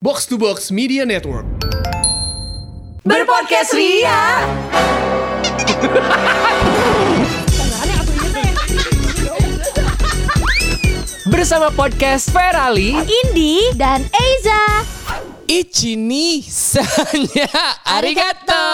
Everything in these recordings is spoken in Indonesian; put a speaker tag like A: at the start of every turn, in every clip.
A: Box to Box Media Network.
B: Berpodcast Ria. Bersama podcast Ferali
C: Indi dan Eiza.
B: Ichini Sanya Arigato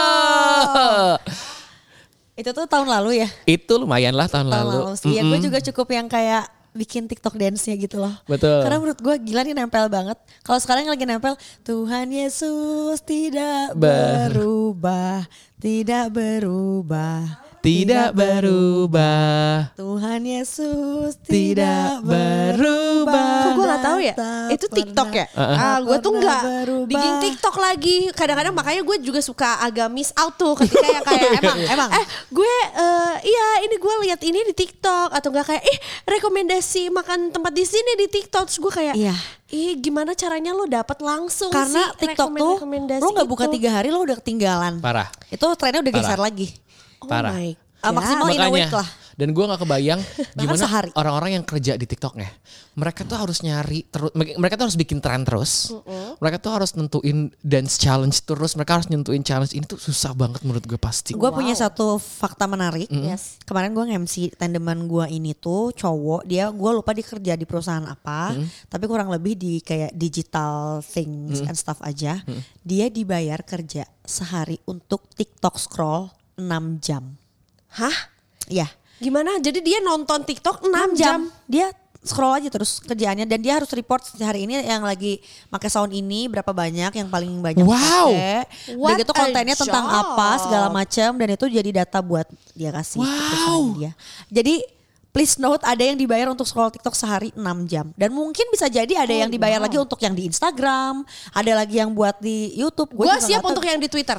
C: Itu tuh tahun lalu ya?
B: Itu lumayan lah tahun,
C: Tahun
B: lalu,
C: lalu. Iya, gue
B: Mm-mm.
C: juga cukup yang kayak bikin TikTok dance-nya gitu loh.
B: Betul.
C: Karena menurut gue gila nih nempel banget. Kalau sekarang yang lagi nempel, Tuhan Yesus tidak
B: Ber-
C: berubah, tidak berubah.
B: Tidak berubah
C: Tuhan Yesus
B: Tidak
C: tidak berubah.
B: berubah.
D: Kok gue gak tahu ya?
C: Tak
D: Itu TikTok ya?
C: pernah,
D: Ah, gue
C: tak
D: tuh
C: pernah
D: nggak
C: berubah.
D: digging TikTok lagi. Kadang-kadang makanya gue juga suka agak miss out tuh ketika yang kayak emang
C: emang.
D: Eh, gue eh, iya ini gue lihat ini di TikTok atau enggak kayak ih rekomendasi makan tempat di sini di TikTok. Terus gue kayak
C: Iya.
D: Ih, gimana caranya lo dapat langsung
C: Karena
D: sih
C: TikTok tuh
D: rekomend-
C: lo nggak
D: rekomendasi gitu.
C: buka
D: itu?
C: tiga hari lo udah ketinggalan.
B: Parah.
C: Itu trennya udah geser
B: Parah.
C: lagi.
D: Oh
B: Parah.
D: my God.
C: Ah, maksimal in a
B: Makanya,
C: week lah.
B: dan gue gak kebayang gimana
C: sehari.
B: orang-orang yang kerja di TikTok ya. Mereka tuh harus nyari terus, mereka tuh harus bikin tren terus. Mereka tuh harus nentuin dance challenge terus. Mereka harus nentuin challenge ini tuh susah banget menurut gue pasti.
C: Gue punya satu fakta menarik.
D: Yes.
C: Kemarin gue nge-MC tandeman gue ini tuh cowok. Dia gue lupa dikerja di perusahaan apa. Tapi kurang lebih di kayak digital things
B: Mm.
C: and stuff aja. Dia dibayar kerja sehari untuk TikTok scroll 6 jam.
D: Hah?
C: Ya.
D: Gimana? Jadi dia nonton TikTok 6, jam.
C: 6 jam. Dia scroll aja terus kerjaannya dan dia harus report hari ini yang lagi pakai sound ini berapa banyak yang paling banyak
B: Wow.
C: dipakai. Udah
D: What
C: gitu
D: a
C: kontennya tentang
D: job.
C: apa segala macam dan itu jadi data buat dia kasih ke perusahaan dia. Jadi please note ada yang dibayar untuk scroll TikTok sehari 6 jam dan mungkin bisa jadi ada yang dibayar lagi untuk yang di Instagram, ada lagi yang buat di YouTube. Gua
D: Gue
C: juga
D: siap
C: nggak tahu.
D: untuk yang di Twitter.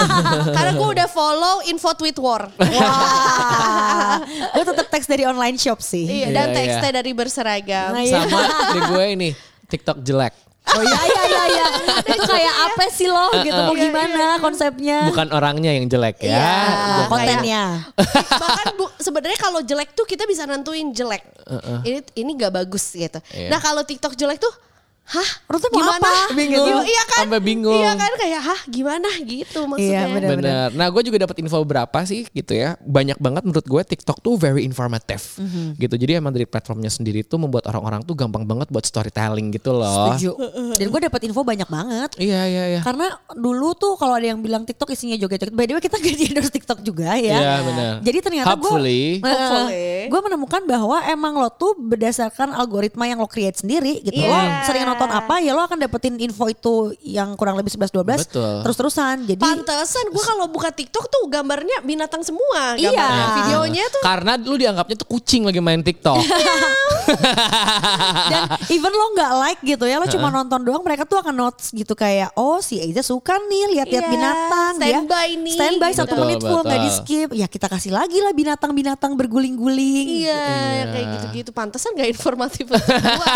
D: Karena gue udah follow info tweet war.
C: Wah. gue tetap Ah, teks dari online shop sih.
D: Iya, dan
B: Iya,
D: teksnya
B: iya.
D: dari berseragam.
C: Nah, iya.
B: Sama di gue ini TikTok jelek.
C: Oh iya iya iya iya. Itu kayak apa sih lo gitu mau gimana konsepnya?
B: Bukan orangnya yang jelek ya.
C: Eh. Iya,
B: Bukan
C: kontennya.
D: Bahkan bu- sebenarnya kalau jelek tuh kita bisa nentuin jelek. Ini ini gak bagus gitu.
B: Iya.
D: Nah kalau TikTok jelek tuh, hah?
C: Lu tuh mau apa? Bingung.
D: Iya, Iya kan?
B: Tambah bingung.
D: Iya kan kayak hah gimana gitu maksudnya.
C: Iya, bener.
B: Bener. Nah, gue juga dapat info berapa sih gitu ya. Banyak banget menurut gue TikTok tuh very informative
C: Mm-hmm.
B: gitu. Jadi emang dari platformnya sendiri tuh membuat orang-orang tuh gampang banget buat storytelling gitu loh.
C: Setuju. Oh. Dan gue dapat info banyak banget.
B: Iya iya iya.
C: Karena dulu tuh kalau ada yang bilang TikTok isinya joget-joget. By the way kita gak di endorse TikTok juga ya.
B: Iya, benar.
C: Jadi ternyata gue.
B: Hopefully.
C: gue menemukan bahwa emang lo tuh berdasarkan algoritma yang lo create sendiri gitu.
D: Iya.
C: Lo sering nonton apa ya lo akan dapetin info itu yang kurang lebih 11-12.
B: Betul.
C: Terus-terusan. Jadi
D: Pantesan gue kalau buka TikTok tuh gambarnya binatang semua.
C: Iya.
D: Gambarnya, videonya tuh
B: Ah. Karena lu dianggapnya tuh kucing lagi main TikTok.
C: Dan even lo nggak like gitu ya, lo cuma nonton doang, mereka tuh akan notes gitu kayak, oh si Eiza suka nih lihat-lihat
D: Iya,
C: binatang,
D: standby
C: dia
D: nih,
C: standby
D: gitu.
C: satu
B: Betul,
C: menit full nggak di
B: betul.
C: skip, ya kita kasih lagi lah binatang-binatang berguling-guling.
D: Iya, kayak gitu-gitu. Pantesan gak informatif buat gua.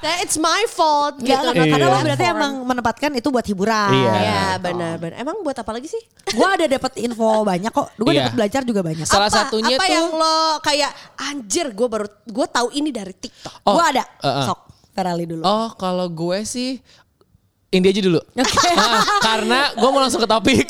D: Nah, it's my fault gitu.
C: Nggak, nggak,
D: Not
C: karena
D: the
C: lo berarti
D: platform.
C: emang menempatkan itu buat hiburan.
B: Iya.
D: Iya, benar-benar. Emang buat apa lagi sih?
C: Gue ada dapat info banyak kok, gue
B: Iya.
C: dapat belajar juga banyak.
B: Salah
D: apa,
B: satunya
D: apa
B: tuh-
D: yang lo kayak anjir gue baru gue tahu ini dari TikTok.
B: Oh,
C: gue ada,
B: eh, eh.
C: sok Ferali dulu.
B: Oh, kalau gue sih ini aja dulu. Ah, karena gue mau langsung ke topik.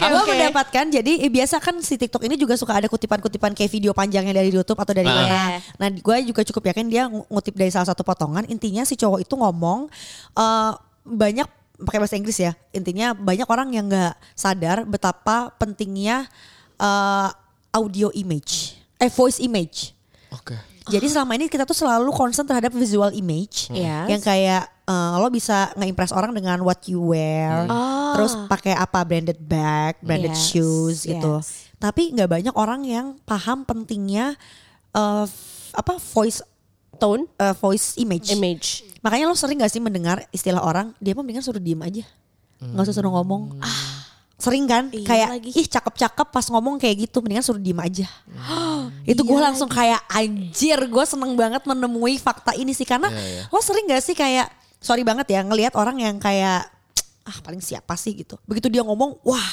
C: gue
D: oke.
C: mendapatkan jadi eh, biasa kan si TikTok ini juga suka ada kutipan-kutipan kayak video panjangnya dari YouTube atau dari
B: Ah.
C: mana.
D: Iya.
C: Nah, gue juga cukup yakin dia ng- ngutip dari salah satu potongan. Intinya si cowok itu ngomong eh, banyak pakai bahasa Inggris ya. Intinya banyak orang yang nggak sadar betapa pentingnya eh, audio image, eh voice image.
B: Oke.
C: Jadi selama ini kita tuh selalu concern terhadap visual image
D: Ah. Hmm. Yes.
C: yang kayak eh, lo bisa nge-impress orang dengan what you wear, terus pakai apa branded bag, branded
D: Hmm. Yes,
C: shoes gitu. Tapi nggak banyak orang yang paham pentingnya eh, f- apa voice
D: Tone,
C: eh, voice image.
D: image.
C: Makanya lo sering gak sih mendengar istilah orang dia mah mendingan suruh diem aja, nggak usah suruh
B: Hmm.
C: ngomong. Ah, sering kan?
D: Iya
C: kayak
D: lagi.
C: ih cakep-cakep pas ngomong kayak gitu mendingan suruh diem aja.
D: Hmm.
C: Itu
D: Iya
C: gue langsung kayak anjir gue seneng banget menemui fakta ini sih karena
B: Iya,
C: lo sering gak sih kayak sorry banget ya ngelihat orang yang kayak ah paling siapa sih gitu. Begitu dia ngomong wah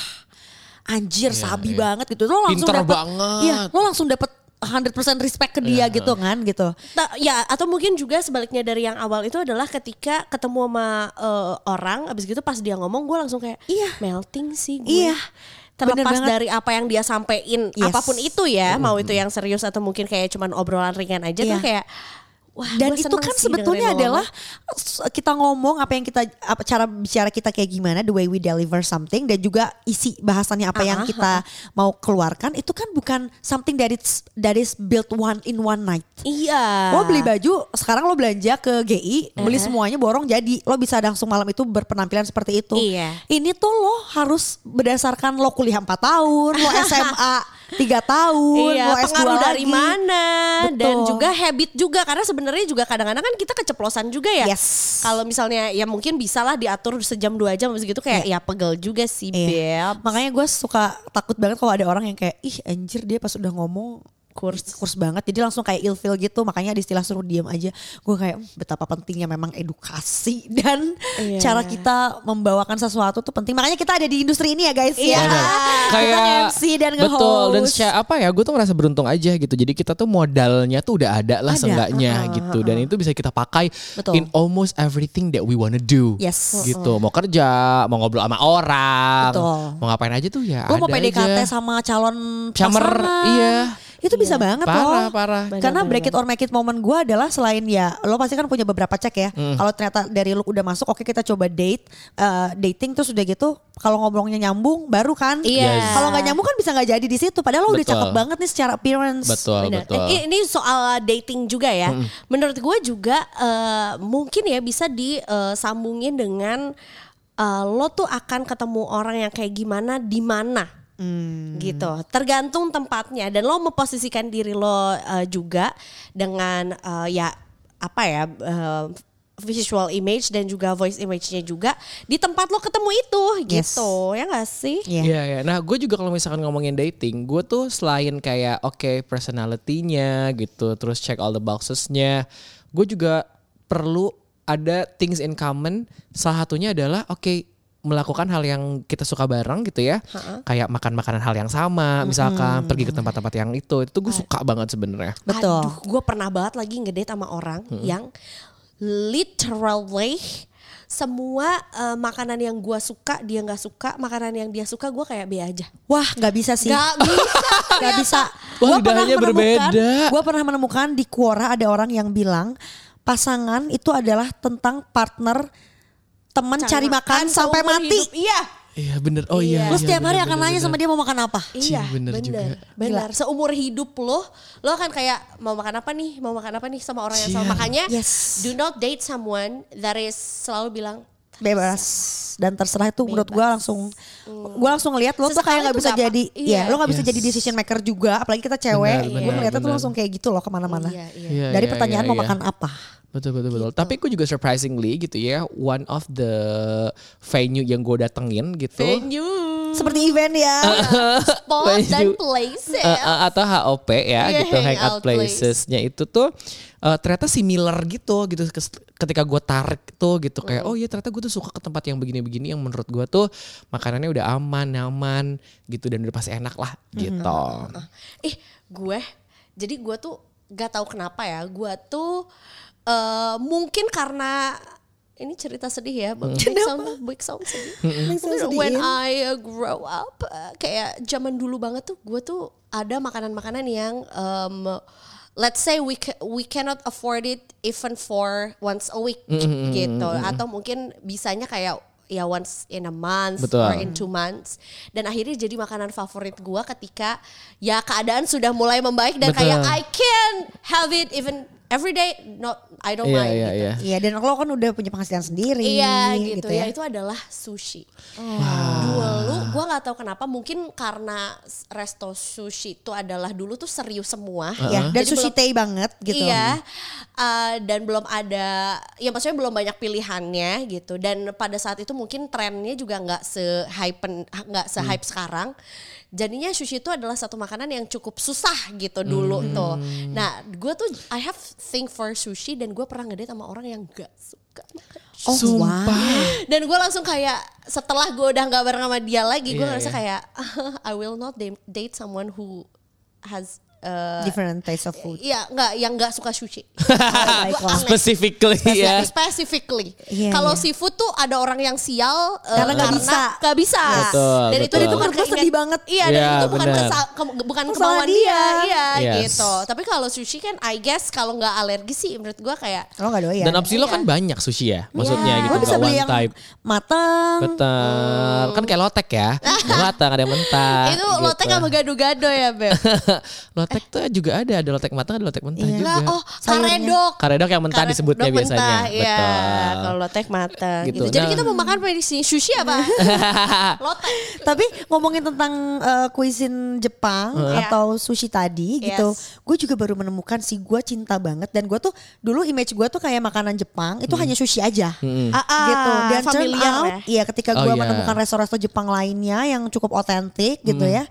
C: anjir sabi banget gitu. Lo langsung
B: Iya, Pinter
C: dapet,
B: banget. Iya.
C: Iya, lo langsung dapet 100% respect ke dia gitu kan gitu.
D: Ta- ya atau mungkin juga sebaliknya dari yang awal itu adalah ketika ketemu sama eh, orang abis gitu pas dia ngomong gue langsung kayak
C: Iya.
D: melting sih gue
C: Iya. Bener
D: terlepas
C: banget.
D: dari apa yang dia sampein
C: Yes.
D: apapun itu ya mau itu yang serius atau mungkin kayak cuman obrolan ringan aja tuh
C: Iya.
D: kayak wah Ah,
C: Dan
D: gua
C: itu
D: seneng
C: kan
D: sih
C: sebetulnya
D: dengerin lo
C: adalah s- kita ngomong apa yang kita apa cara bicara kita kayak gimana the way we deliver something dan juga isi bahasannya apa yang
D: Ah,
C: kita mau keluarkan itu kan bukan something that is that is built one in one night.
D: ngomong. iya
C: Lo beli baju, sekarang lo belanja ke GI, beli
D: Eh.
C: semuanya borong jadi lo bisa langsung malam itu berpenampilan seperti itu.
D: Iya.
C: Ini tuh lo harus berdasarkan lo kuliah 4 tahun, lo SMA 3 tahun,
D: Iya,
C: lo S2
D: pengaruh dari
C: lagi.
D: mana dan
C: Betul.
D: juga habit juga karena sebenarnya juga kadang-kadang kan kita keceplosan juga ya.
C: Yes.
D: Kalau misalnya ya mungkin bisalah diatur sejam dua jam habis gitu kayak ya pegel juga sih
C: Iya.
D: beb.
C: Makanya gue suka takut banget kalau ada orang yang kayak ih anjir dia pas udah ngomong kurs kurs banget jadi langsung kayak ilfil gitu makanya ada istilah suruh diam aja gue kayak "Hmm, betapa pentingnya memang edukasi dan
D: Iya.
C: cara kita membawakan sesuatu tuh penting makanya kita ada di industri ini ya guys ya
B: Banget.
C: kita MC dan nge-host
B: betul dan secara apa ya gue tuh merasa beruntung aja gitu jadi kita tuh modalnya tuh udah ada lah
C: Ada,
B: seenggaknya
C: uh-uh,
B: gitu dan itu bisa kita pakai in
C: Betul.
B: almost everything that we wanna do
C: Yes.
B: gitu mau kerja mau ngobrol sama orang
C: Betul.
B: mau ngapain aja tuh ya
C: lo mau
B: ada
C: PDKT
B: aja.
C: sama calon
B: Camer,
C: pasangan.
B: iya.
C: itu bisa banget
B: parah
C: loh
B: parah
D: Bener,
C: Karena
D: bener,
C: break it or make it moment gue adalah selain ya lo pasti kan punya beberapa cek ya.
B: Hmm.
C: Kalau ternyata dari lo udah masuk, oke kita coba date, eh, dating terus udah gitu. Kalau ngobrolnya nyambung, baru kan.
D: Iya.
B: Yes.
C: Kalau nggak nyambung kan bisa nggak jadi di situ. Padahal lo udah
B: Betul.
C: cakep banget nih secara appearance.
B: betul
D: Benar.
B: betul
D: Eh, Ini soal dating juga ya. Menurut gue juga eh, mungkin ya bisa disambungin dengan eh, lo tuh akan ketemu orang yang kayak gimana di mana. gitu tergantung tempatnya dan lo memposisikan diri lo eh, juga dengan eh, ya apa ya eh, visual image dan juga voice image-nya juga di tempat lo ketemu itu
C: Yes.
D: gitu ya gak sih
C: Iya.
B: Iya, iya. Nah, gue juga kalau misalkan ngomongin dating, gue tuh selain kayak oke personality-nya gitu, terus check all the boxes-nya, gue juga perlu ada things in common. Salah satunya adalah oke melakukan hal yang kita suka bareng gitu ya. Kayak makan makanan hal yang sama, misalkan pergi ke tempat-tempat yang itu. Itu gue suka banget sebenarnya.
C: Betul.
D: Aduh, gue pernah banget lagi ngedate sama orang yang literally semua eh, makanan yang gue suka dia nggak suka, makanan yang dia suka gue kayak be aja.
C: Wah nggak bisa sih.
D: Gak bisa,
C: Gak bisa.
B: Wah,
C: Gua
B: lidahnya berbeda.
C: Gue pernah menemukan di Quora ada orang yang bilang pasangan itu adalah tentang partner teman cari, makan, sampai
D: seumur
C: mati.
D: hidup. Iya,
B: Iya, bener. Oh iya.
D: Iya.
C: Lo
B: iya,
C: setiap hari
B: bener,
C: akan
B: bener,
C: nanya sama
B: bener.
C: dia mau makan apa.
B: Cing,
D: iya,
B: bener
D: bener,
B: juga.
D: bener. Seumur hidup lo, lo akan kayak mau makan apa nih, mau makan apa nih sama orang yang
B: Iya.
D: sama. Makanya,
C: Yes.
D: do not date someone that is selalu bilang
C: bebas dan terserah itu menurut gue langsung gue langsung ngeliat lo tuh
D: Sesekali
C: kayak nggak
D: tuh
C: bisa
D: nggak apa-
C: jadi
D: iya.
C: ya lo nggak bisa
B: Yes.
C: jadi decision maker juga apalagi kita cewek
B: Benar,
C: gue
B: benar,
C: ngeliatnya tuh
B: benar.
C: langsung kayak gitu loh kemana-mana
D: Iya, iya.
B: Iya,
C: dari
B: iya,
C: pertanyaan
B: iya,
C: mau
B: iya.
C: makan Gitu. apa
B: Betul betul betul. Tapi gue juga surprisingly gitu ya, one of the venue yang gue datengin gitu.
D: venue,
C: seperti event ya
D: spot dan
B: Venue.
C: Uh,
D: places.
B: Eh, eh, atau HOP ya
D: Iya,
B: gitu
D: hangout
B: hangout
D: place.
B: placesnya itu tuh eh, ternyata similar gitu gitu Kes- ketika gue tarik tuh gitu kayak oh iya ternyata gue tuh suka ke tempat yang begini-begini yang menurut gue tuh makanannya udah aman nyaman gitu dan udah pasti enak lah gitu.
D: Ih, gue. Jadi gue tuh gak tahu kenapa ya. Gue tuh eh, mungkin karena ini cerita sedih ya, big sound, big sound sedih.
C: Langsung
D: When
C: sedihin.
D: I grow up, eh, kayak zaman dulu banget tuh, gue tuh ada makanan-makanan yang em, Let's say we ca- we cannot afford it even for once a
B: Mm-hmm,
D: week gitu atau mungkin bisanya kayak ya once in a month
B: Betul.
D: or in two months dan akhirnya jadi makanan favorit gua ketika ya keadaan sudah mulai membaik dan
B: Betul.
D: kayak I can have it even every day not I don't
B: Iya
D: mind
B: iya
D: gitu.
B: iya.
C: iya dan lo kan udah punya penghasilan sendiri
D: Iya gitu, ya. itu adalah sushi. Dulu gua nggak tahu kenapa mungkin karena resto sushi itu adalah dulu tuh serius semua.
C: Ya, dan
D: Jadi
C: sushi
D: belum-
C: tei banget gitu
D: Iya. Uh, dan belum ada ya maksudnya belum banyak pilihannya gitu. Dan pada saat itu mungkin trennya juga nggak se hype nggak se hype sekarang. Jadinya sushi itu adalah satu makanan yang cukup susah gitu dulu tuh. Nah, gue tuh I have thing for sushi dan gue pernah ngedate sama orang yang gak suka. makan
C: oh
B: Sumpah.
C: wow
D: dan gue langsung kayak setelah gue udah nggak bareng sama dia lagi gue
B: Iya,
D: ngerasa
B: iya.
D: kayak I will not date, date someone who has eh,
C: Different taste of food.
D: Iya, nggak yang nggak suka sushi.
C: Baiklah.
B: Specifically ya.
D: Specifically.
C: Iya,
D: Kalau
C: iya.
D: seafood tuh ada orang yang sial eh,
C: Karena nggak bisa.
D: nggak bisa.
B: Betul,
D: dan itu
B: betul.
D: itu bukan
C: Menurut gue sedih
D: keinginan-
C: banget.
D: Iya, dan
B: Iya,
D: itu bukan
B: benar.
D: kesa- ke- bukan
C: Bukan salah
D: kemauan dia,
C: dia.
D: iya
B: Yes.
D: gitu. Tapi kalau sushi kan I guess kalau nggak alergi sih menurut gua kayak
C: Lo gak
D: Iya.
C: doyan.
B: Dan opsi lo kan banyak sushi ya, maksudnya
C: Iya.
B: gitu
C: Lo bisa
B: nggak
C: beli
B: one
C: yang
B: type.
C: matang.
B: Betul, kan kayak lotek ya, Ada matang ada yang mentah. gitu.
D: itu lotek sama gado-gado ya, Beb.
B: lotek tuh juga ada, ada lotek matang, ada lotek mentah Iya. juga.
D: lah, oh,
C: Sayurnya.
D: karedok.
B: Karedok yang mentah
D: Karedok
B: disebutnya biasanya.
D: mentah, Iya,
B: Betul.
D: kalau lotek matang
B: Gitu.
D: gitu. Jadi
B: Nah.
D: kita mau makan apa di sini? Sushi apa? lotek.
C: Tapi ngomongin tentang eh, kuisin Jepang
D: Iya.
C: atau sushi tadi gitu, gue juga baru menemukan si gue cinta banget dan gue tuh dulu image gue tuh kayak makanan Jepang
B: Hmm.
C: itu hanya sushi aja,
D: Ah, ah,
C: gitu. Dan turn
D: familiar
C: out,
D: ya.
C: iya ketika
B: Oh,
C: gue
B: iya.
C: menemukan restoran-restoran Jepang lainnya yang cukup otentik gitu
B: Hmm.
C: ya,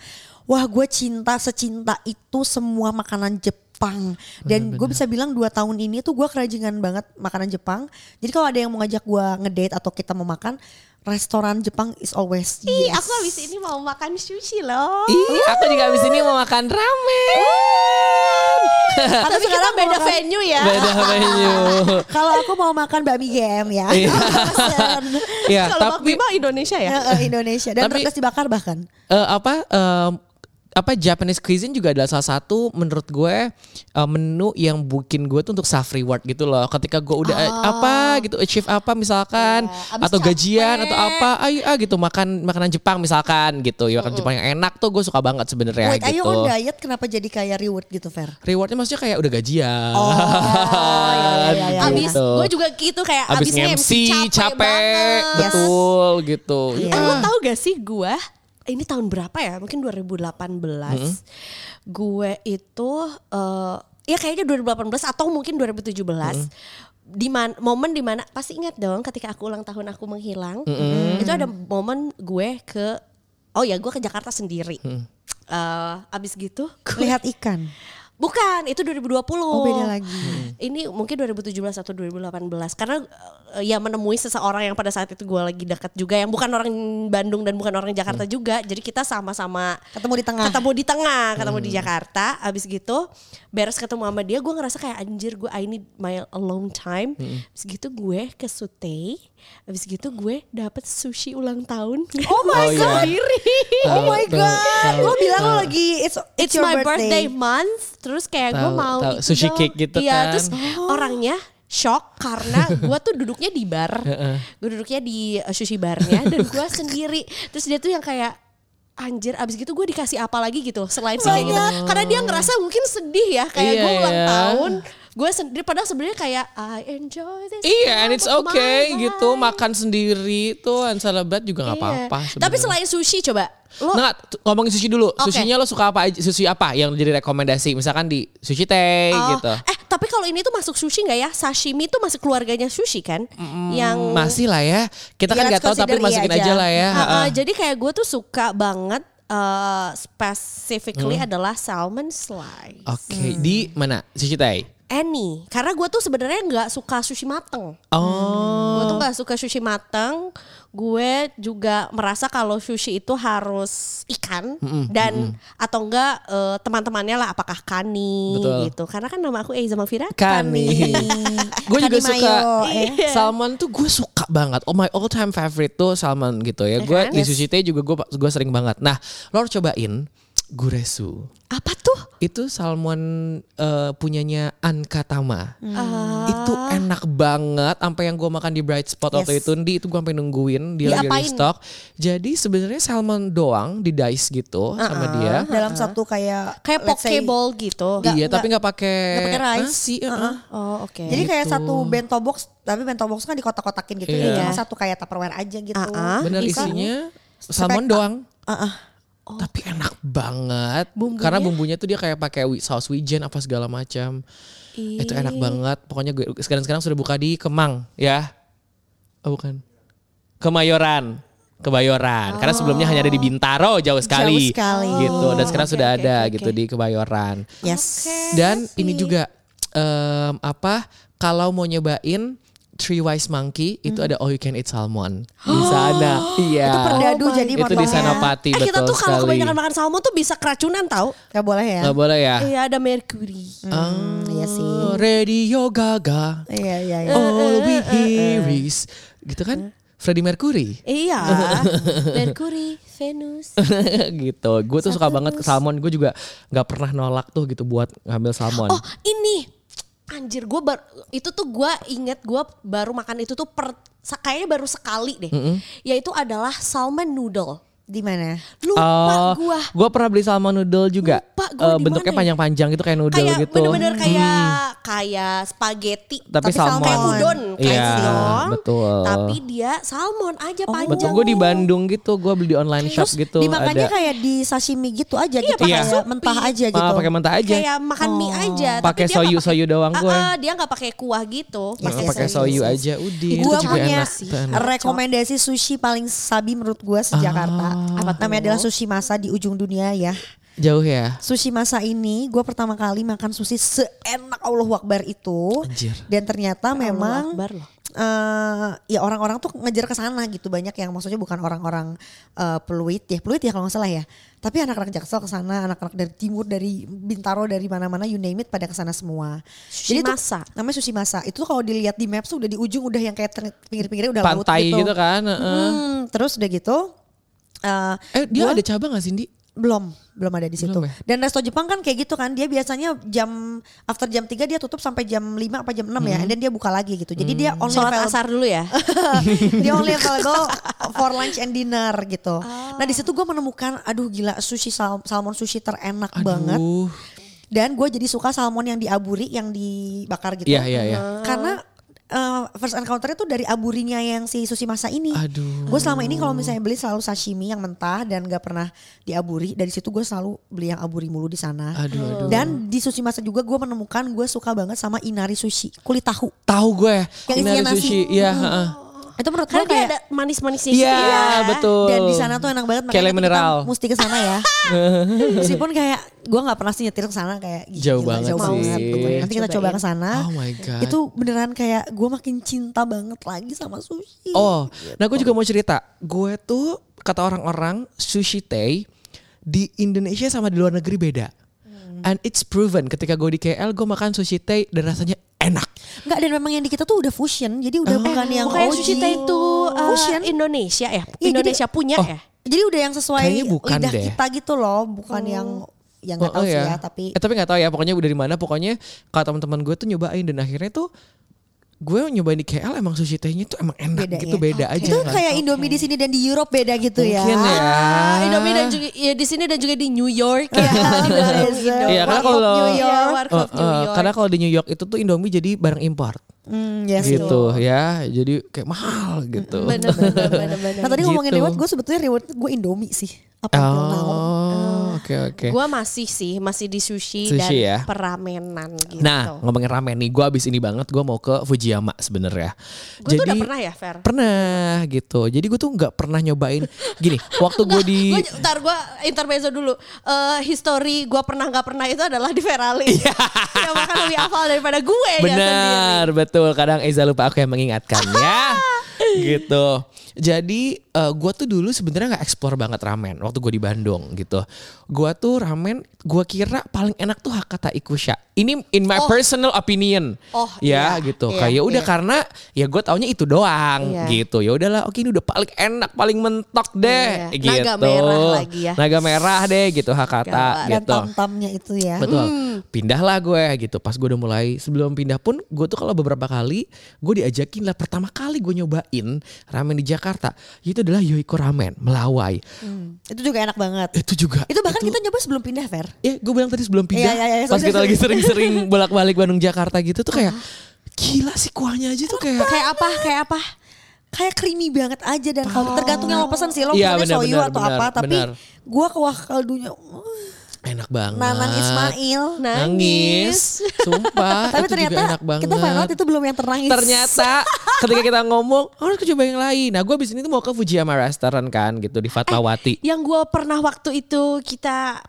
C: wah gue cinta secinta itu semua makanan Jepang. Dan gue bisa bilang dua tahun ini tuh gue kerajingan banget makanan Jepang. Jadi kalau ada yang mau ngajak gue ngedate atau kita mau makan, restoran Jepang is always
D: Ih,
C: yes.
D: aku habis ini mau makan sushi loh.
B: Ih, aku juga abis ini mau makan ramen.
C: Aku
D: Tapi kita
C: sekarang mau
D: beda
C: makan-
D: venue ya.
B: Beda menu.
C: Kalau aku mau makan bakmi GM ya.
B: Iya.
C: Pesen.
B: Ya,
D: Kalau
B: tapi
D: tapi mah Indonesia ya.
C: Ya, eh, Indonesia dan
B: Tapi-
C: rekas dibakar bahkan.
B: eh, apa em, apa Japanese cuisine juga adalah salah satu menurut gue eh, menu yang bikin gue tuh untuk self reward gitu loh. Ketika gue udah
C: Oh.
B: eh, apa gitu achieve apa misalkan
D: Iya, abis
B: atau gajian
D: capek.
B: atau apa ayo ah gitu makan makanan Jepang misalkan gitu. Ya makan Jepang yang enak tuh gue suka banget sebenarnya
C: Wait, ayo
B: gitu.
C: on diet kenapa jadi kayak reward gitu Fer?
B: Rewardnya maksudnya kayak udah gajian.
C: Oh, iya, iya, iya, iya.
D: Abis
B: Gitu.
D: gue juga gitu kayak
B: abis,
D: abis,
B: nge-MC capek,
D: banget.
C: Yes.
B: betul gitu.
C: Iya.
D: Eh, lo tau gak sih gue ini tahun berapa ya? Mungkin 2018. Gue itu eh, ya kayaknya 2018 atau mungkin 2017. Di man- momen dimana pasti ingat dong ketika aku ulang tahun aku menghilang. Itu ada momen gue ke oh ya gue ke Jakarta sendiri. Eh, abis gitu gue-
C: Lihat ikan.
D: Bukan, itu 2020.
C: Oh, beda lagi.
D: Hmm. Ini mungkin 2017 atau 2018 karena eh, ya menemui seseorang yang pada saat itu gue lagi dekat juga yang bukan orang Bandung dan bukan orang Jakarta
B: Hmm.
D: juga. Jadi kita sama-sama
C: Ketemu di tengah.
D: ketemu di tengah, ketemu
B: Hmm.
D: di Jakarta. Abis gitu beres ketemu sama dia, gue ngerasa kayak anjir gue I need my alone time.
B: Hmm.
D: Abis gitu gue ke Sutei, abis gitu gue dapet sushi ulang tahun.
C: Oh my
B: Oh, iya.
C: god. Oh my
B: Tahu,
C: god.
B: tahu,
C: Lo bilang lo
B: tahu.
C: lagi it's
D: It's
C: your
D: my birthday. month. Terus kayak gue
B: Tahu,
D: mau
B: tahu.
D: itu
B: Sushi
D: dong.
B: cake gitu
D: Iya,
B: kan.
D: terus orangnya shock karena gue tuh duduknya di bar. gue duduknya di eh, sushi barnya dan gue sendiri. Terus dia tuh yang kayak anjir abis gitu gue dikasih apa lagi gitu selain sih kayak gitu karena dia ngerasa mungkin sedih ya kayak
B: Iya,
D: gue ulang
B: ya.
D: tahun gue sendiri padahal sebenarnya kayak I enjoy this
B: Iya,
D: time
B: and it's
D: of
B: okay
D: my
B: gitu
D: life.
B: makan sendiri tuh and celebrate juga nggak
D: Iya.
B: apa-apa. sebenarnya.
D: tapi
B: Nah,
D: selain sushi coba lo
B: Nggak, t- ngomongin sushi dulu.
D: Oke.
B: Sushinya lo suka apa aja? Sushi apa yang jadi rekomendasi? Misalkan di sushi teh
D: Oh,
B: gitu.
D: Eh tapi kalau ini tuh masuk sushi nggak ya? Sashimi tuh masuk keluarganya sushi kan? yang
B: Masih lah ya. Kita
C: Iya,
B: kan nggak
C: let's
B: tahu tapi
C: consider iya
B: masukin aja.
C: aja.
B: lah ya.
D: Ah, ah,
B: Heeh.
D: jadi kayak gue tuh suka banget eh,
B: Hmm.
D: specifically adalah salmon slice.
B: Oke, di mana? Sushi teh.
D: Any, karena gue tuh sebenarnya nggak suka sushi mateng.
B: Oh.
D: Gue tuh nggak suka sushi mateng. Gue juga merasa kalau sushi itu harus ikan dan atau enggak eh, teman-temannya lah apakah kani
B: Betul.
D: gitu. Karena kan nama aku Eiza Mafira.
B: Kani. gue juga
C: Kani
B: suka Iya.
C: mayo,
D: eh.
B: salmon tuh gue suka banget. Oh my all time favorite tuh salmon gitu ya.
D: Ya
B: Gue
D: kan?
B: di
D: Yes.
B: sushi teh juga gue gue sering banget. Nah, lo harus cobain guresu.
D: Apa tuh?
B: Itu salmon eh, punyanya Ankatama.
C: Hmm.
B: Itu enak banget sampai yang gue makan di Bright Spot waktu
C: Ah. Yes.
B: itu di itu gue sampai nungguin dia lagi ada
D: Diapain?
B: di stok. Jadi sebenarnya salmon doang di dice gitu sama dia.
C: Dalam satu Uh-huh. kayak
D: Kayak
C: let's say-
D: pokeball gitu.
B: iya,
C: Ah, nggak-
B: tapi nggak pakai
C: nggak pakai rice. Ah,
B: nasi. eh, eh.
D: Oh oke.
C: Jadi kayak satu bento box, tapi bento box kan dikotak-kotakin gitu.
B: Gitu. Iya.
C: Cuma satu kayak Tupperware aja gitu.
D: Ah, ah.
B: Bener
D: Bisa.
B: isinya salmon
C: Spek-
B: doang.
C: Ah, ah.
B: Tapi enak banget. Karena bumbunya tuh dia kayak pakai wi- saus wijen apa segala macam. Itu enak banget. Pokoknya gue sekarang-sekarang sudah buka di Kemang ya. Oh bukan. Kemayoran. Kebayoran. Karena sebelumnya hanya ada di Bintaro jauh sekali.
C: sekali.
B: Gitu. Dan sekarang
D: Oke,
B: sudah
D: oke,
B: ada
D: oke,
B: gitu
D: oke.
B: di Kebayoran.
C: Yes.
B: Iya Dan ini juga em, apa kalau mau nyobain Three Wise Monkey itu ada All You Can Eat Salmon di sana. Iya.
C: Itu perdadu
D: Oh my
C: jadi
D: God.
B: Itu di
C: motongnya.
B: Senopati
D: Eh
B: betul
D: kita tuh kalau
B: sekali.
D: kebanyakan makan salmon tuh bisa keracunan tau.
C: Gak boleh ya?
B: Nggak boleh ya.
D: Iya ada merkuri.
C: Hmm, iya sih.
B: Oh, Radio Gaga.
C: Iya iya
B: Eh,
C: iya.
B: All we hear is gitu kan? Freddie Mercury.
D: Iya. merkuri, Venus.
B: gitu. Gue tuh suka banget ke salmon. Gue juga nggak pernah nolak tuh gitu buat ngambil salmon.
D: Oh ini anjir gue bar itu tuh gue inget gue baru makan itu tuh per sa- kayaknya baru sekali deh. Yaitu adalah salmon noodle.
C: Di mana?
B: Oh,
D: Lupa gue.
B: Gue Eh, pernah beli salmon noodle juga.
D: Lupa gua
B: Eh,
D: di
B: bentuknya
D: mana ya?
B: panjang-panjang gitu kayak noodle
D: Kayak
B: gitu.
D: bener-bener kayak kayak spaghetti.
B: Tapi salmon.
D: Kayak udon kayak
B: Iya,
D: udon.
B: betul.
D: Tapi dia salmon aja panjang.
B: Betul, gue di Bandung gitu, gue beli di online shop
C: Terus
B: gitu.
C: dimakannya
B: ada.
C: kayak di sashimi gitu aja gitu.
D: pakai
C: kayak
D: sup.
C: mentah aja
B: Ah,
C: gitu.
B: pakai mentah aja.
D: Kayak makan mie aja. tapi
B: Pakai
D: dia nggak
B: soyu-soyu
D: pakai-
B: doang gue.
D: Ah, ah, dia nggak pakai kuah gitu.
B: Nah,
C: pakai
B: pakai
C: soyu.
B: soyu aja, udah. Itu
C: Gua
B: juga
C: punya
B: enak. Itu enak.
C: rekomendasi sushi paling sabi menurut gua
B: Ah.
C: se-Jakarta. Namanya adalah sushi masa di ujung dunia ya.
B: Jauh ya.
C: Sushi masa ini gua pertama kali makan sushi seenak Allah Akbar itu.
B: Anjir.
C: Dan ternyata memang
D: Akbar loh.
C: eh, ya orang-orang tuh ngejar ke sana gitu banyak yang maksudnya bukan orang-orang eh, peluit ya peluit ya kalau nggak salah ya tapi anak-anak jaksel ke sana anak-anak dari timur dari bintaro dari mana-mana you name it pada ke sana semua
D: Sushi
C: tuh
D: masa.
C: namanya sushi masa itu tuh kalau dilihat di maps tuh udah di ujung udah yang kayak ter- pinggir-pinggirnya udah laut
B: Pantai gitu kan. heeh.
C: Hmm, terus udah gitu eh,
B: Eh dia
C: gua-
B: ada cabang gak Cindy?
C: belum, belum ada di situ.
B: Belum ya?
C: Dan resto Jepang kan kayak gitu kan, dia biasanya jam after jam 3 dia tutup sampai jam 5 apa jam 6
B: Hmm.
C: ya, dan dia buka lagi gitu. Jadi dia only
D: Sholat
C: available-
D: asar dulu ya.
C: dia only available for lunch and dinner gitu.
B: Ah.
C: Nah, di situ gue menemukan aduh gila sushi sal- salmon sushi terenak banget.
B: Aduh.
C: Dan gue jadi suka salmon yang diaburi, yang dibakar gitu.
B: Iya, iya, iya.
C: Karena eh, first encounter itu dari aburinya yang si sushi masa ini.
B: Aduh.
C: Gue selama ini kalau misalnya beli selalu sashimi yang mentah dan gak pernah diaburi. Dari situ gue selalu beli yang aburi mulu di sana.
B: Aduh, aduh.
C: Dan di sushi masa juga gue menemukan gue suka banget sama inari sushi kulit tahu.
B: Tahu gue ya.
C: Yang
B: Inari
C: isinya nasi.
B: sushi. Iya, heeh.
C: Itu menurut gue
D: Karena dia
C: kayak
D: ada manis-manisnya
B: Iya,
D: gitu ya.
B: betul.
C: Dan di sana tuh enak banget
B: Kayak
C: makanya
B: lemon
C: kita
B: mineral.
C: Mesti ke sana ya. Meskipun kayak gua nggak pernah sih nyetir ke sana kayak gila,
B: Jauh banget
C: jauh
B: sih.
C: banget. pokoknya. Nanti kita coba
D: Cobain.
C: ke sana.
B: Oh my God.
C: Itu beneran kayak gua makin cinta banget lagi sama sushi.
B: Oh, nah gue juga mau cerita. Gue tuh kata orang-orang sushi tei di Indonesia sama di luar negeri beda.
C: Hmm.
B: And it's proven ketika gue di KL gue makan sushi tei dan rasanya enak.
C: Enggak dan memang yang di kita tuh udah fusion. Jadi
B: Ah.
C: udah bukan yang
D: Bukannya
C: OG.
D: sushi teh itu uh,
C: fusion.
D: Indonesia ya.
C: jadi-
D: Indonesia punya
B: Oh.
D: ya.
C: Jadi udah yang sesuai
B: Kayaknya bukan
C: lidah
B: deh.
C: kita gitu loh, bukan yang yang nggak tahu
B: Oh,
C: sih
B: iya.
C: ya, tapi
B: Eh, tapi nggak tahu ya pokoknya udah di mana pokoknya kalau teman-teman gue tuh nyobain dan akhirnya tuh gue nyobain di KL emang sushi tehnya tuh emang enak
C: Beda
B: gitu
C: ya?
B: beda aja
C: itu
B: nggak
C: kayak Indomie di sini dan di Europe beda gitu ya.
B: Mungkin ya.
D: Ah, Indomie dan juga ya di sini dan juga di New York ya.
B: Iya, karena
C: Warkop
B: kalau-
C: New
D: Iya,
C: York.
B: Eh,
D: Warkop New
B: eh,
D: York.
B: karena kalau di New York itu tuh Indomie jadi barang import
C: Hmm, ya sih.
B: gitu ya jadi kayak mahal gitu
D: Bener, bener, bener, bener.
C: Nah tadi ngomongin
B: Gitu.
C: reward, gue sebetulnya reward gue Indomie sih. Apa
B: oh oke oke
D: Gua masih sih masih di sushi,
B: Sushi
D: dan
B: ya.
D: peramenan gitu.
B: Nah ngomongin ramen nih, gue abis ini banget gue mau ke Fujiyama sebenarnya.
D: Gua tuh udah pernah ya, Fer?
B: Pernah gitu. Jadi gue tuh nggak pernah nyobain. Gini, waktu gue di
D: Gue ntar gue intermezzo dulu. Eh history gue pernah nggak pernah itu adalah di Ferali.
B: Iya.
D: yang bahkan lebih hafal daripada gue ya sendiri.
B: Benar, betul. Kadang Eza lupa aku yang mengingatkan ya. gitu. Jadi eh, gua gue tuh dulu sebenarnya nggak eksplor banget ramen waktu gue di Bandung gitu. Gue tuh ramen gue kira paling enak tuh Hakata Ikusha. Ini in my personal opinion.
D: Oh,
B: ya
D: iya,
B: gitu.
D: iya,
B: Kayak udah
D: iya.
B: karena ya gue taunya itu doang
D: Iya.
B: gitu. Ya udahlah, oke ini udah paling enak, paling mentok deh
D: Iya.
B: gitu.
D: Naga merah lagi ya.
B: Naga merah deh gitu Hakata
C: Dan
B: gitu.
C: tam-tamnya itu ya.
B: Betul. Pindahlah gue gitu. Pas gue udah mulai sebelum pindah pun gue tuh kalau beberapa kali gue diajakin lah pertama kali gue nyobain ramen di Jakarta itu adalah Yoiko Ramen Melawai.
C: Hmm, Itu juga enak banget.
B: Itu juga.
C: Itu bahkan kita nyoba sebelum pindah Fer.
B: Ya gue bilang tadi sebelum pindah
C: Iya, iya, iya,
B: pas
C: sorry,
B: kita
C: sorry.
B: lagi sering-sering bolak-balik Bandung Jakarta gitu tuh kayak
C: Uh-huh.
B: gila sih kuahnya aja tuh kayak
D: Kayak apa? Kayak apa?
C: Kayak creamy banget aja dan kalau tergantung yang lo pesan sih lo
B: Ah. Iya,
C: pesannya
B: benar,
C: soyu
B: benar,
C: atau
B: benar,
C: apa tapi
B: benar.
C: gue kuah kaldunya uh,
B: enak banget.
C: Nanang Ismail.
B: Nangis. Sumpah.
C: tapi
B: itu juga
C: ternyata
B: enak banget.
C: kita final itu belum yang ternangis.
B: ternyata ketika kita ngomong "Oh, harus coba yang lain. Nah gue abis ini tuh mau ke
D: Eh.
B: Fujiyama Restaurant kan gitu di Fatmawati.
D: Yang gue pernah waktu itu kita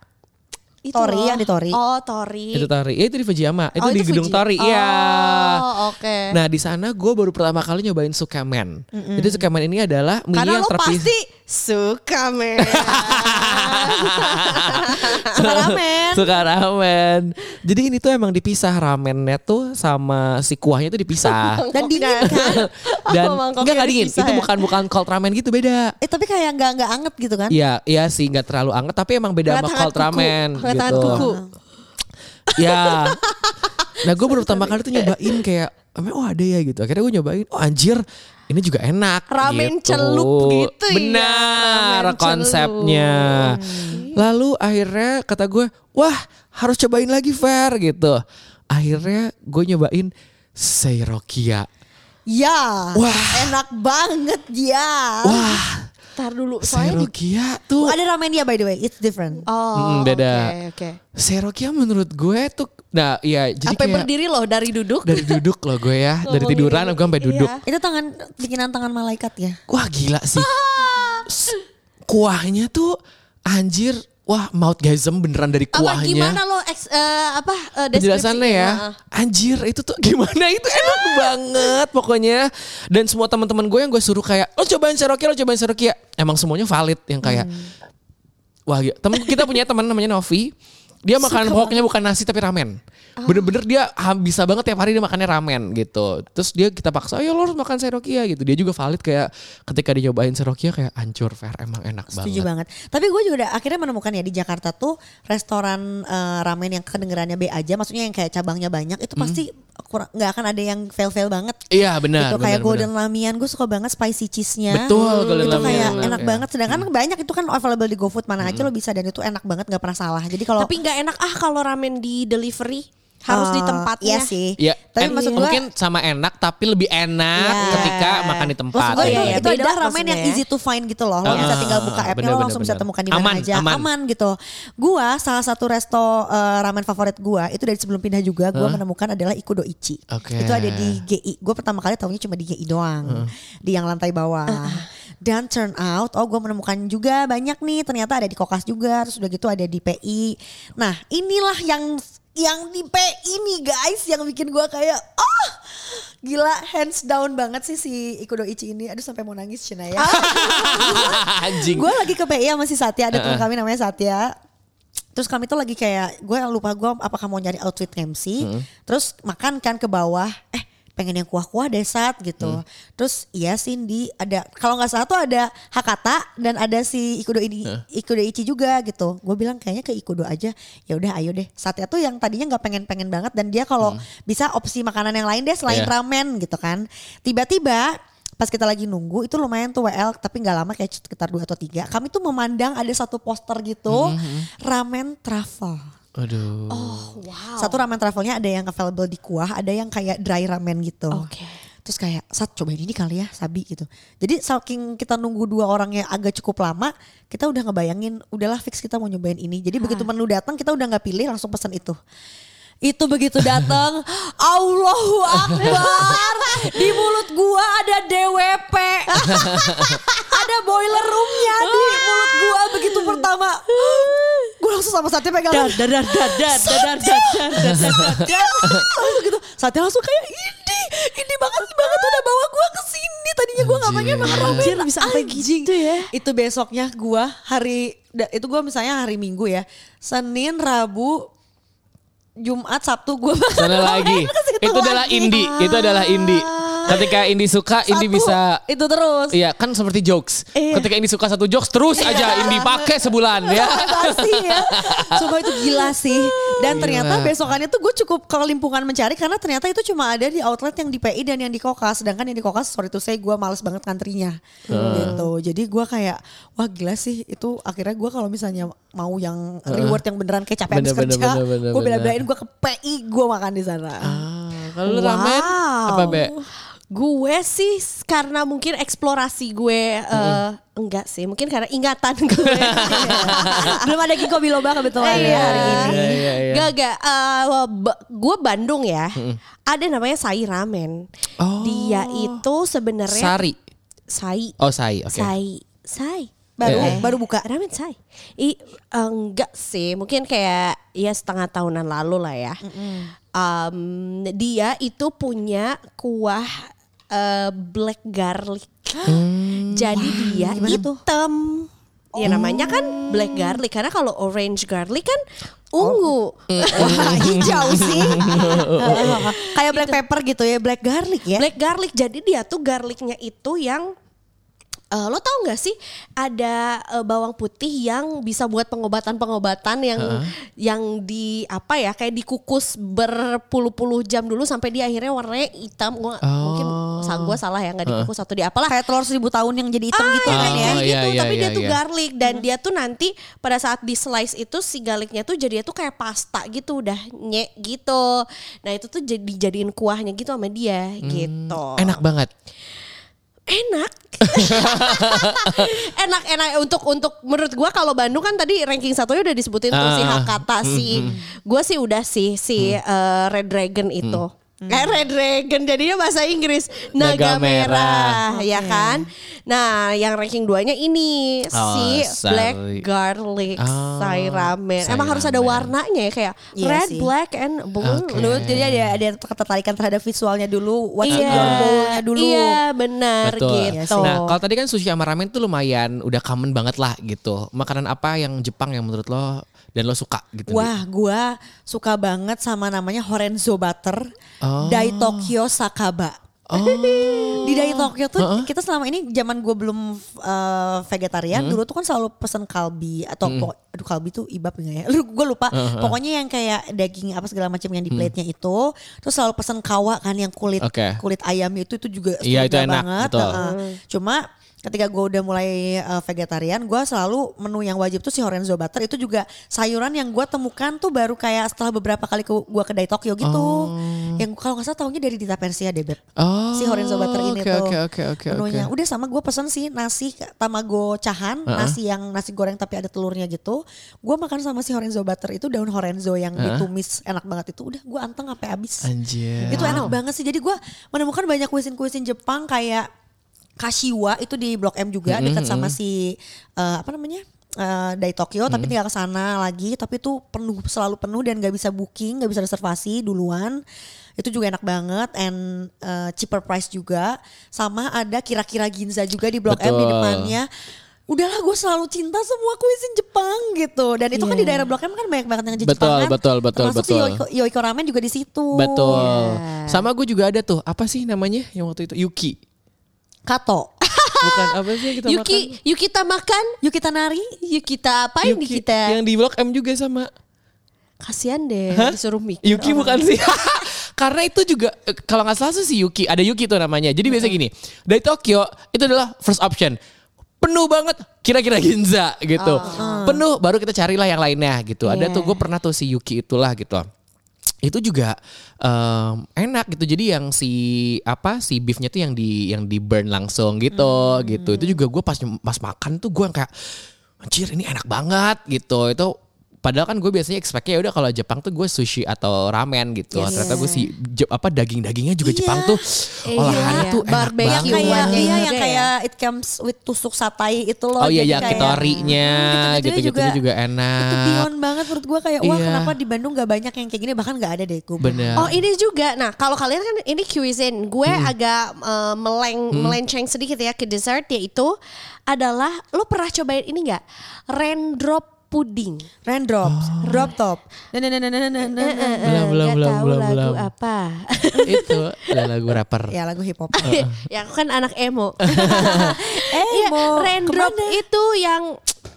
D: Itu
C: Tori,
D: loh.
C: yang di Tori.
D: Oh Tori.
B: Itu Tori. Ya, itu di Fujiyama. Itu
D: Oh,
B: di gedung
D: Fuji.
B: Tori. Iya.
D: Oh oke.
B: Nah di sana gue baru pertama kali nyobain sukamen. Jadi sukamen ini adalah mie
D: Karena
B: yang
D: lo
B: terpisah.
D: pasti suka men.
C: Suka ramen.
B: Suka ramen. Jadi ini tuh emang dipisah ramennya tuh sama si kuahnya tuh dipisah.
C: Dan dingin kan?
B: Dan
D: Oh, mangkoknya
B: enggak enggak dingin.
D: dipisah
B: Itu
D: ya?
B: bukan bukan cold ramen gitu beda.
C: Eh tapi kayak nggak nggak anget gitu kan?
B: Iya, iya sih nggak terlalu anget tapi emang beda sama
D: Hangat-hangat
B: cold
D: kuku.
B: ramen
D: Hangat-hangat
B: gitu.
D: kuku.
B: Ya. Nah gue baru pertama kali tuh nyobain kayak Emang oh ada ya gitu Akhirnya gue nyobain Oh anjir ini juga enak
D: Ramen
B: gitu.
D: celup gitu ya.
B: Benar
D: Ramen
B: konsepnya Lalu akhirnya kata gue Wah harus cobain lagi Fer gitu Akhirnya gue nyobain Seirokia Iya.
C: Ya.
D: Ah. Iya.
B: Wah.
C: Enak banget ya.
B: Wah
D: Ntar dulu soalnya di-
B: Seirokia tuh
C: Oh, Ada ramen dia by the way, it's different.
B: Mm,
D: Oh,
B: beda.
D: Oke, oke.
B: Seirokia menurut gue tuh Nah iya jadi
D: Sampai
B: kayak
D: berdiri loh dari duduk.
B: Dari duduk loh gue ya Dari
D: Ngomongin
B: tiduran
D: ini,
B: gue sampai
D: iya.
B: duduk
C: Itu tangan bikinan tangan malaikat ya.
B: Wah gila sih. S- Kuahnya tuh anjir. Wah mouth gasm beneran dari
D: apa
B: kuahnya.
D: gimana lo eks- eh, apa eh,
B: Penjelasannya
D: deskripsi?
B: ya.
D: Heeh.
B: Anjir itu tuh gimana itu enak banget pokoknya. Dan semua teman-teman gue yang gue suruh kayak lo cobain Serokia, lo cobain Serokia. Emang semuanya valid yang kayak
C: Hmm.
B: Wah, gila. temen kita punya teman namanya Novi. Dia makan pokoknya bukan nasi tapi ramen.
C: Oh.
B: Bener-bener dia ha- bisa banget tiap hari dia makannya ramen gitu. Terus dia kita paksa, ayo lo harus makan serokia gitu. Dia juga valid kayak ketika dia nyobain serokia kayak ancur fair emang enak
C: Setuju
B: banget.
C: banget. Tapi gue juga udah akhirnya menemukan ya di Jakarta tuh restoran eh, ramen yang kedengerannya B aja, maksudnya yang kayak cabangnya banyak itu pasti kurang- nggak akan ada yang fail-fail banget.
B: Hmm. Iya benar.
C: itu kayak
B: benar,
C: golden
B: benar.
C: lamian gue suka banget spicy cheese-nya.
B: Betul, golden
C: itu
B: lamian, Hmm.
C: kayak
B: benar,
C: enak
B: ya.
C: banget. Sedangkan banyak itu kan available di GoFood mana aja lo bisa dan itu enak banget nggak pernah salah. Jadi kalau
D: Tapi nggak enak ah kalau ramen di delivery harus
C: eh,
D: di tempatnya.
C: Iya sih.
B: Iya, en-
C: Tapi maksud gue
B: mungkin sama enak tapi lebih enak
C: Iya.
B: ketika makan di tempat.
C: Maksud gue
D: Iya,
C: itu,
D: iya,
C: itu
D: beda
C: adalah ramen
D: maksudnya
C: yang
D: ya.
C: easy to find gitu loh.
B: Ah,
C: Lo bisa tinggal buka app-nya
B: bener,
C: lo
B: bener,
C: langsung bisa
B: bener.
C: temukan di mana
B: Aman,
C: aja.
B: aman.
C: Aman. gitu. Gua salah satu resto eh, ramen favorit gua itu dari sebelum pindah juga gua menemukan adalah Ikudo Ichi.
B: Oke.
C: Itu ada di GI. Gue pertama kali tahunya cuma di GI doang. Di yang lantai bawah. Dan turn out oh gue menemukan juga banyak nih ternyata ada di Kokas juga terus udah gitu ada di PI. Nah, inilah yang yang di PI nih guys yang bikin gua kayak oh gila hands down banget sih si Ikudo Ichi ini. Aduh sampai mau nangis Cina ya.
B: Anjing.
C: Gue lagi ke PI sama si Satya, ada teman kami namanya Satya. Terus kami tuh lagi kayak gue lupa gue apakah mau nyari outfit MC. Terus makan kan ke bawah. Eh pengen yang kuah-kuah deh Sat
B: Hmm.
C: gitu. Terus iya Cindy ada kalau nggak salah tuh ada Hakata dan ada si Ikudo ini Ikudo Ichi juga gitu. Gue bilang kayaknya ke Ikudo aja. Ya udah ayo deh. Satya tuh yang tadinya nggak pengen-pengen banget dan dia kalau bisa opsi makanan yang lain deh
B: Hmm.
C: selain
B: Iya.
C: ramen gitu kan. Tiba-tiba pas kita lagi nunggu itu lumayan tuh WL tapi nggak lama kayak sekitar dua atau tiga kami tuh memandang ada satu poster gitu
D: Mm-hmm.
C: ramen travel
B: Aduh.
D: Oh, wow.
C: satu ramen travelnya ada yang available di kuah ada yang kayak dry ramen gitu
D: Oke.
C: terus kayak saat cobain ini kali ya sabi gitu jadi saking kita nunggu dua orangnya agak cukup lama kita udah ngebayangin udahlah fix kita mau nyobain ini jadi begitu
D: Ah.
C: menu datang kita udah nggak pilih langsung pesan itu itu begitu datang Allahu Akbar di mulut gua ada DWP ada boiler roomnya di mulut gua begitu pertama gua langsung sama Satya pegang
A: Dar dar dar dar dar dar dar dar dar dar.
C: Satya langsung gitu Satya langsung kayak ini ini banget banget udah bawa gue ke sini tadinya gue nggak pengen makan ramen
A: Anjir, bisa sampai gitu ya.
C: itu besoknya gue hari da- itu gue misalnya hari minggu ya Senin Rabu Jumat Sabtu gue
B: Sana lagi. Itu adalah indie, itu adalah
C: Ah.
B: indie. Ketika indie suka, indie bisa
C: itu terus
B: Iya kan seperti jokes. Ketika ini suka satu jokes terus aja ini pakai sebulan ya.
C: pasti ya. Coba itu gila sih. Dan ternyata besokannya tuh gue cukup kelimpungan mencari karena ternyata itu cuma ada di outlet yang di PI dan yang di Kokas. Sedangkan yang di Kokas sorry tuh saya gue males banget ngantrinya
B: Ah.
C: gitu. Jadi gue kayak wah gila sih itu akhirnya gue kalau misalnya mau yang reward yang beneran kayak capek habis
B: Ah. Bener, bener,
C: kerja,
B: bener, bener, Ah.
C: gue bela-belain
B: bener.
C: gue ke PI gue makan di sana.
B: Kalau lu ramen apa be?
D: Gue sih s- karena mungkin eksplorasi gue eh, enggak sih, mungkin karena ingatan gue.
C: Belum ada Giko Biloba kebetulan ya hari ini.
B: Iya, iya, iya.
D: Gak, gak. Eh, ba- gue Bandung ya. Ada namanya Sai Ramen.
B: Oh.
D: Dia itu sebenarnya
B: Sari.
D: Sai.
B: Oh sai, oke.
D: Sai. Sai.
C: Baru
B: Eh.
C: baru buka.
D: Ramen say. I eh, enggak sih, mungkin kayak ya setengah tahunan lalu lah ya. Um, dia itu punya kuah eh, black garlic. Jadi dia
C: Hmm. gimana tuh? Oh.
D: hitam. Ya namanya kan black garlic karena kalau orange garlic kan ungu.
C: Wah, hijau sih. Kayak black pepper gitu ya, black garlic ya.
D: Black garlic. Jadi dia tuh garlicnya itu yang eh, lo tau nggak sih ada eh, bawang putih yang bisa buat pengobatan-pengobatan yang yang di apa ya kayak dikukus berpuluh-puluh jam dulu sampai dia akhirnya warnanya hitam. Gua, Mungkin
B: Oh.
D: salah gue salah ya nggak dikukus atau di apalah.
C: Kayak telur seribu tahun yang jadi hitam
D: Ah,
C: gitu
D: iya,
C: kan ya.
D: kayak
B: Oh,
D: gitu.
B: iya, iya,
D: tapi dia
B: iya,
D: tuh
B: iya.
D: garlic dan dia tuh nanti pada saat di slice itu si garlicnya tuh jadinya tuh kayak pasta gitu udah nyek gitu. Nah itu tuh jadi dijadiin kuahnya gitu sama dia
B: Hmm.
D: gitu.
B: Enak banget.
D: Enak. enak enak untuk untuk menurut gua kalau Bandung kan tadi ranking satunya udah disebutin tuh
B: Ah,
D: si
B: Hmm.
D: Hakata si gua sih udah sih si eh, Red Dragon itu. Eh, Red Dragon jadinya bahasa Inggris
B: Naga
D: naga, merah,
B: merah.
D: ya kan. Nah, yang ranking duanya
B: Oh,
D: ini si
B: sari.
D: Black Garlic
B: Oh,
D: Sai Ramen. Emang
B: Sai
D: harus ada
B: Ramen.
D: warnanya ya kayak
C: Iya
D: red,
C: sih.
D: black and blue.
B: Oke.
C: Dulu jadi ada
B: Hmm.
C: ada ketertarikan terhadap visualnya dulu, what's
B: Iya.
C: in your bowl-nya dulu. Iya
D: Iya, benar
B: Betul.
D: gitu.
B: Nah, kalau tadi kan sushi sama ramen tuh lumayan udah common banget lah gitu. Makanan apa yang Jepang yang menurut lo dan lo suka gitu? Di?
C: Wah, gua suka banget sama namanya Horenzo Butter
B: Oh.
C: Dai Tokyo Sakaba. Di Dai Tokyo tuh kita selama ini zaman gue belum uh, vegetarian
B: Hmm.
C: dulu tuh kan selalu pesen kalbi atau pokok- aduh kalbi tuh ibab enggak ya? Lu gue lupa. Pokoknya yang kayak daging apa segala macam yang di plate-nya itu terus selalu pesen kawa kan yang kulit
B: Hmm. Oke.
C: kulit ayamnya itu itu juga
B: Iya, itu
C: surga
B: enak, betul.
C: Heeh. Cuma ketika gue udah mulai uh, vegetarian, gue selalu menu yang wajib tuh si Horenzo butter itu juga sayuran yang gue temukan tuh baru kayak setelah beberapa kali ke gue ke Dai Tokyo gitu. Yang kalau nggak salah taunya dari Dita Persia deh Beb.
B: Oh,
C: si Horenzo butter ini
B: oke,
C: tuh
B: oke, oke, ogo
C: menunya. Udah sama gue pesen sih nasi tamago cahan, nasi yang nasi goreng tapi ada telurnya gitu. Gue makan sama si Horenzo butter itu daun Horenzo yang ditumis enak banget itu. Udah gue anteng sampai habis.
B: Anjir.
C: Itu enak banget sih. Jadi gue menemukan banyak kuisin-kuisin Jepang kayak Kashiwa itu di Blok M juga dekat sama si eh, apa namanya? eh, dari Tokyo tapi tinggal ke sana lagi tapi itu penuh selalu penuh dan gak bisa booking gak bisa reservasi duluan itu juga enak banget and eh, cheaper price juga sama ada kira-kira Ginza juga di Blok M di
B: Betul.
C: depannya udahlah gue selalu cinta semua kuisin Jepang gitu dan itu kan di daerah Blok M kan banyak banget yang
B: Iya. Betul,
C: Jepangan
B: betul, betul,
C: termasuk si
B: betul.
C: Yoiko, Yoiko Ramen juga di situ
B: Betul.
D: Iya.
B: Sama gue juga ada tuh. Apa sih namanya yang waktu itu Yuki?
C: Kato.
B: Bukan apa sih yang kita
D: Yuki,
B: makan?
D: yuk kita makan,
C: Yuk kita nari.
D: yuk kita apain di
B: Yuki,
D: kita?
B: Yang di Blok M juga sama.
D: Kasihan deh,
B: Hah?
D: disuruh mikir.
B: Yuki bukan sih. Karena itu juga eh, kalau nggak salah sih Yuki, ada Yuki tuh namanya. Jadi biasa gini, dari Tokyo itu adalah first option. Penuh banget kira-kira Ginza gitu.
D: Oh,
B: Penuh baru kita carilah yang lainnya gitu.
D: Iya.
B: Ada tuh gue pernah tuh si Yuki itulah gitu. Itu juga em, enak gitu. Jadi yang si apa si beefnya tuh yang di yang di burn langsung gitu gitu. Itu juga gue pas pas makan tuh gue kayak anjir ini enak banget gitu. Itu Padahal kan gue biasanya expect-nya udah kalau Jepang tuh gue sushi atau ramen gitu.
D: Yes.
B: Ternyata gue si Je- apa daging-dagingnya juga Jepang tuh
D: Iya.
B: olahan tuh enak
D: Barbecue
B: banget.
C: Yang kayak
D: Bangkuan.
C: iya yang
D: Iya.
C: kayak it comes with tusuk satai itu loh.
B: oh iya ya
C: Jadi gitu kayak-
B: kitorinya
C: Hmm,
B: gitu-gitunya juga,
C: Itu
B: enak.
C: beyond banget menurut gua kayak wah
B: Iya.
C: kenapa di Bandung gak banyak yang kayak gini bahkan gak ada deh gue.
B: Bener.
D: Oh ini juga, nah kalau kalian kan ini cuisine, gue
B: Hmm.
D: agak eh, meleng melenceng sedikit ya ke dessert yaitu adalah lo pernah cobain ini nggak raindrop pudding?
C: Raindrop, drop top. Nah, nah, nah, nah, nah,
B: Belum,
C: nah, nah, nah.
B: belum,
D: Eh, Nggak
B: belum,
D: tahu
B: belum,
D: lagu
B: belum.
D: apa?
B: itu adalah lagu rapper.
C: Ya lagu hip hop.
D: ya aku kan anak emo. Iya,
C: Emo,
D: raindrop
C: kemana?
D: itu yang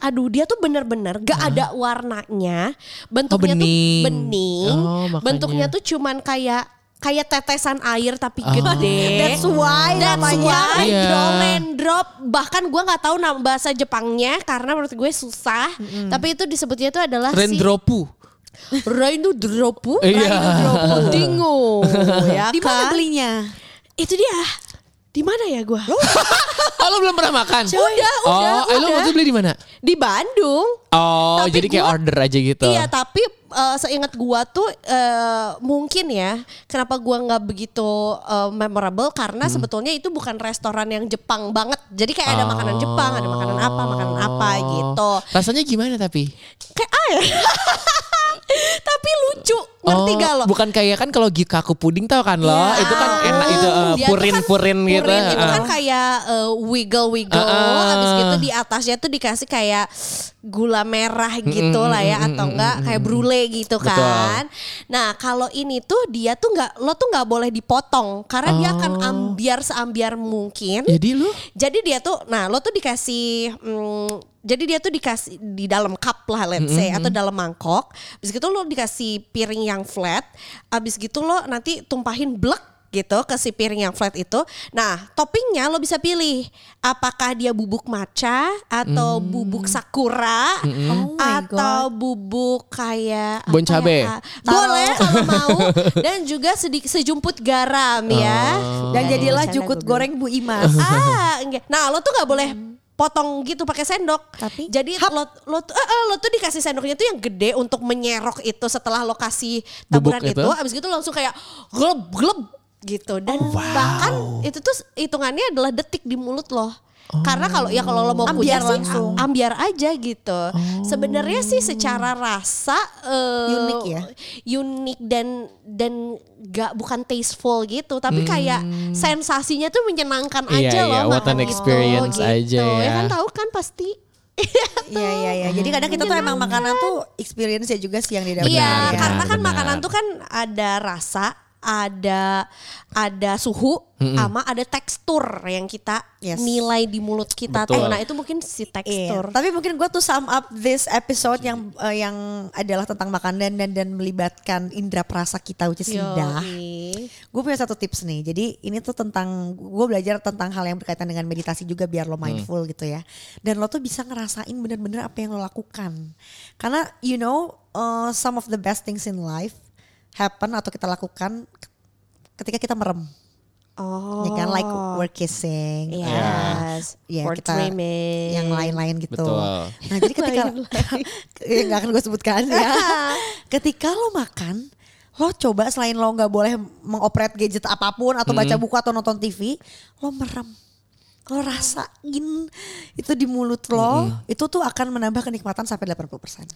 D: aduh dia tuh bener-bener gak ada warnanya bentuknya
B: bening.
D: tuh Oh, bening
B: Oh, makanya.
D: bentuknya tuh cuman kayak kayak tetesan air tapi Ah. gede
C: That's why
D: That's
C: namanya.
D: why
B: Iya.
D: drop and drop bahkan gua nggak tahu nama bahasa Jepangnya karena menurut gue susah tapi itu disebutnya itu adalah
B: Rendropu.
D: si raindropu
B: Iya.
D: raindropu dingo ya
C: Di mana
D: kan?
C: belinya?
D: itu dia di mana ya gua
B: Oh lo belum pernah makan?
D: Udah,
B: oh,
D: udah,
B: eh, lo
D: udah.
B: waktu itu beli di mana?
D: di Bandung
B: Oh
D: Tapi
B: jadi kayak
D: gua-
B: order aja gitu.
D: Iya tapi eh, seingat gua tuh eh, mungkin ya kenapa gua nggak begitu eh, memorable karena sebetulnya itu bukan restoran yang Jepang banget. Jadi kayak ada makanan Jepang, ada makanan apa, makanan apa gitu.
B: Oh. Rasanya gimana tapi?
D: Kayak air. Tapi lucu, ngerti
B: Oh,
D: gak lo?
B: Bukan kayak kan kalau gikaku puding tau kan lo,
D: Iya.
B: itu kan enak itu eh,
D: Dia tuh
B: purin,
D: kan
B: purin gitu.
D: itu kan
B: eh.
D: kayak eh, wiggle wiggle
B: Ah.
D: habis gitu di atasnya tuh dikasih kayak gula merah gitu lah ya atau enggak kayak brulee gitu
B: Betul.
D: kan. Nah, kalau ini tuh dia tuh nggak lo tuh nggak boleh dipotong karena dia akan
B: Oh.
D: ambiar seambiar mungkin.
B: Jadi lu
D: Jadi dia tuh, nah lo tuh dikasih, mm, jadi dia tuh dikasih di dalam cup lah let's
B: Mm-hmm.
D: say atau dalam mangkok. Abis gitu lo dikasih piring yang flat. Abis gitu lo nanti tumpahin blek gitu ke si piring yang flat itu. Nah toppingnya lo bisa pilih apakah dia bubuk matcha atau
B: Hmm.
D: bubuk sakura
A: Oh my
D: atau bubuk kayak
B: Bon
D: apa
B: cabe.
D: ya, Kak? boleh kalau mau dan juga sedikit sejumput garam ya.
B: Oh.
C: Dan jadilah
D: bercanda
C: jukut
D: gua bilang.
C: goreng Bu Imas.
D: Ah, enggak. Nah, lo tuh nggak boleh potong gitu pakai sendok.
C: Tapi?
D: jadi lo lo tuh eh, eh, lo tuh dikasih sendoknya tuh yang gede untuk menyerok itu setelah lo kasih
B: Bubuk
D: taburan itu,
B: itu?
D: abis gitu langsung kayak gleb gleb gitu dan
B: Oh,
D: bahkan itu tuh hitungannya adalah detik di mulut lo. Karena kalau ya kalau lo mau
C: Ambiar
D: kunyah sih,
C: langsung.
D: a- ambiar aja gitu.
B: Oh.
D: Sebenarnya sih secara rasa eh,
C: Unik ya?
D: unik dan dan gak bukan tasteful gitu tapi kayak sensasinya tuh menyenangkan
B: Hmm. Iya,
D: aja
B: iya,
D: loh
B: what
D: makan
B: an experience
D: itu,
B: aja
D: gitu.
B: ya.
D: kan tahu kan pasti
C: Iya iya iya. Jadi kadang kita tuh emang makanan tuh experience ya juga sih yang didapat.
D: iya
B: benar,
D: karena kan
B: benar.
D: makanan tuh kan ada rasa ada ada suhu sama ada tekstur yang kita
C: Yes.
D: nilai di mulut kita
B: Betul.
D: tuh nah itu mungkin si tekstur
C: Iya. Tapi mungkin gue tuh sum up this episode yang eh, yang adalah tentang makanan dan dan melibatkan indera perasa kita which is lidah.
D: Yoi.
C: Gue punya satu tips nih. Jadi ini tuh tentang gue belajar tentang hal yang berkaitan dengan meditasi juga biar lo mindful gitu ya. Dan lo tuh bisa ngerasain bener-bener apa yang lo lakukan. Karena you know uh, some of the best things in life happen atau kita lakukan ketika kita merem.
D: oh
C: Ya kan like we're kissing.
D: yes
C: ya. Ya,
D: Or
C: kita
D: dreaming.
C: yang lain-lain gitu.
B: Betul.
C: Nah jadi ketika ya, nggak akan gue sebutkan ya. ketika lo makan, lo coba selain lo nggak boleh mengopret gadget apapun atau baca buku atau nonton TV, lo merem. Lo rasain itu di mulut lo, itu tuh akan menambah kenikmatan sampai 80%.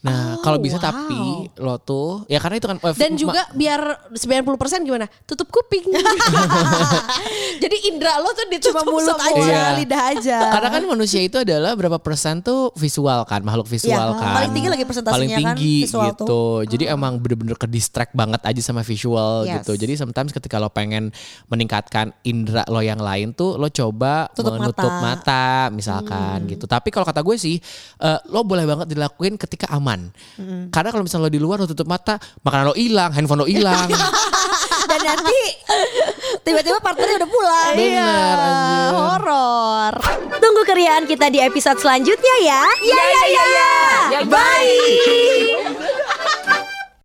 B: Nah, kalau bisa
D: Oh, wow.
B: tapi lo tuh ya karena itu kan eh, ma-
D: Dan juga biar 90% gimana? Tutup kuping. Jadi indra lo tuh ditutup
C: Cuma mulut
D: sama-
C: aja,
B: Iya.
C: lidah aja.
B: karena kan manusia itu adalah berapa persen tuh visual kan, makhluk visual
C: Iya,
B: kan.
C: paling tinggi lagi persentasenya
B: Paling
C: kan,
B: tinggi
C: visual Ah.
B: gitu. Jadi emang bener-bener ke distract banget aja sama visual
C: Yes.
B: gitu. Jadi sometimes ketika lo pengen meningkatkan indera lo yang lain tuh lo coba
C: Tutup
B: menutup
C: mata.
B: mata
C: Hmm.
B: misalkan gitu. Tapi kalau kata gue sih eh, lo boleh banget dilakuin ketika aman. Karena kalau misalnya lo di luar lo tutup mata, makanan lo hilang, handphone lo hilang.
C: Dan nanti tiba-tiba partnernya udah pulang. Iya,
B: Bener, anjir.
C: horor.
A: Tunggu keriaan kita di episode selanjutnya ya. Ya ya ya. ya. Bye.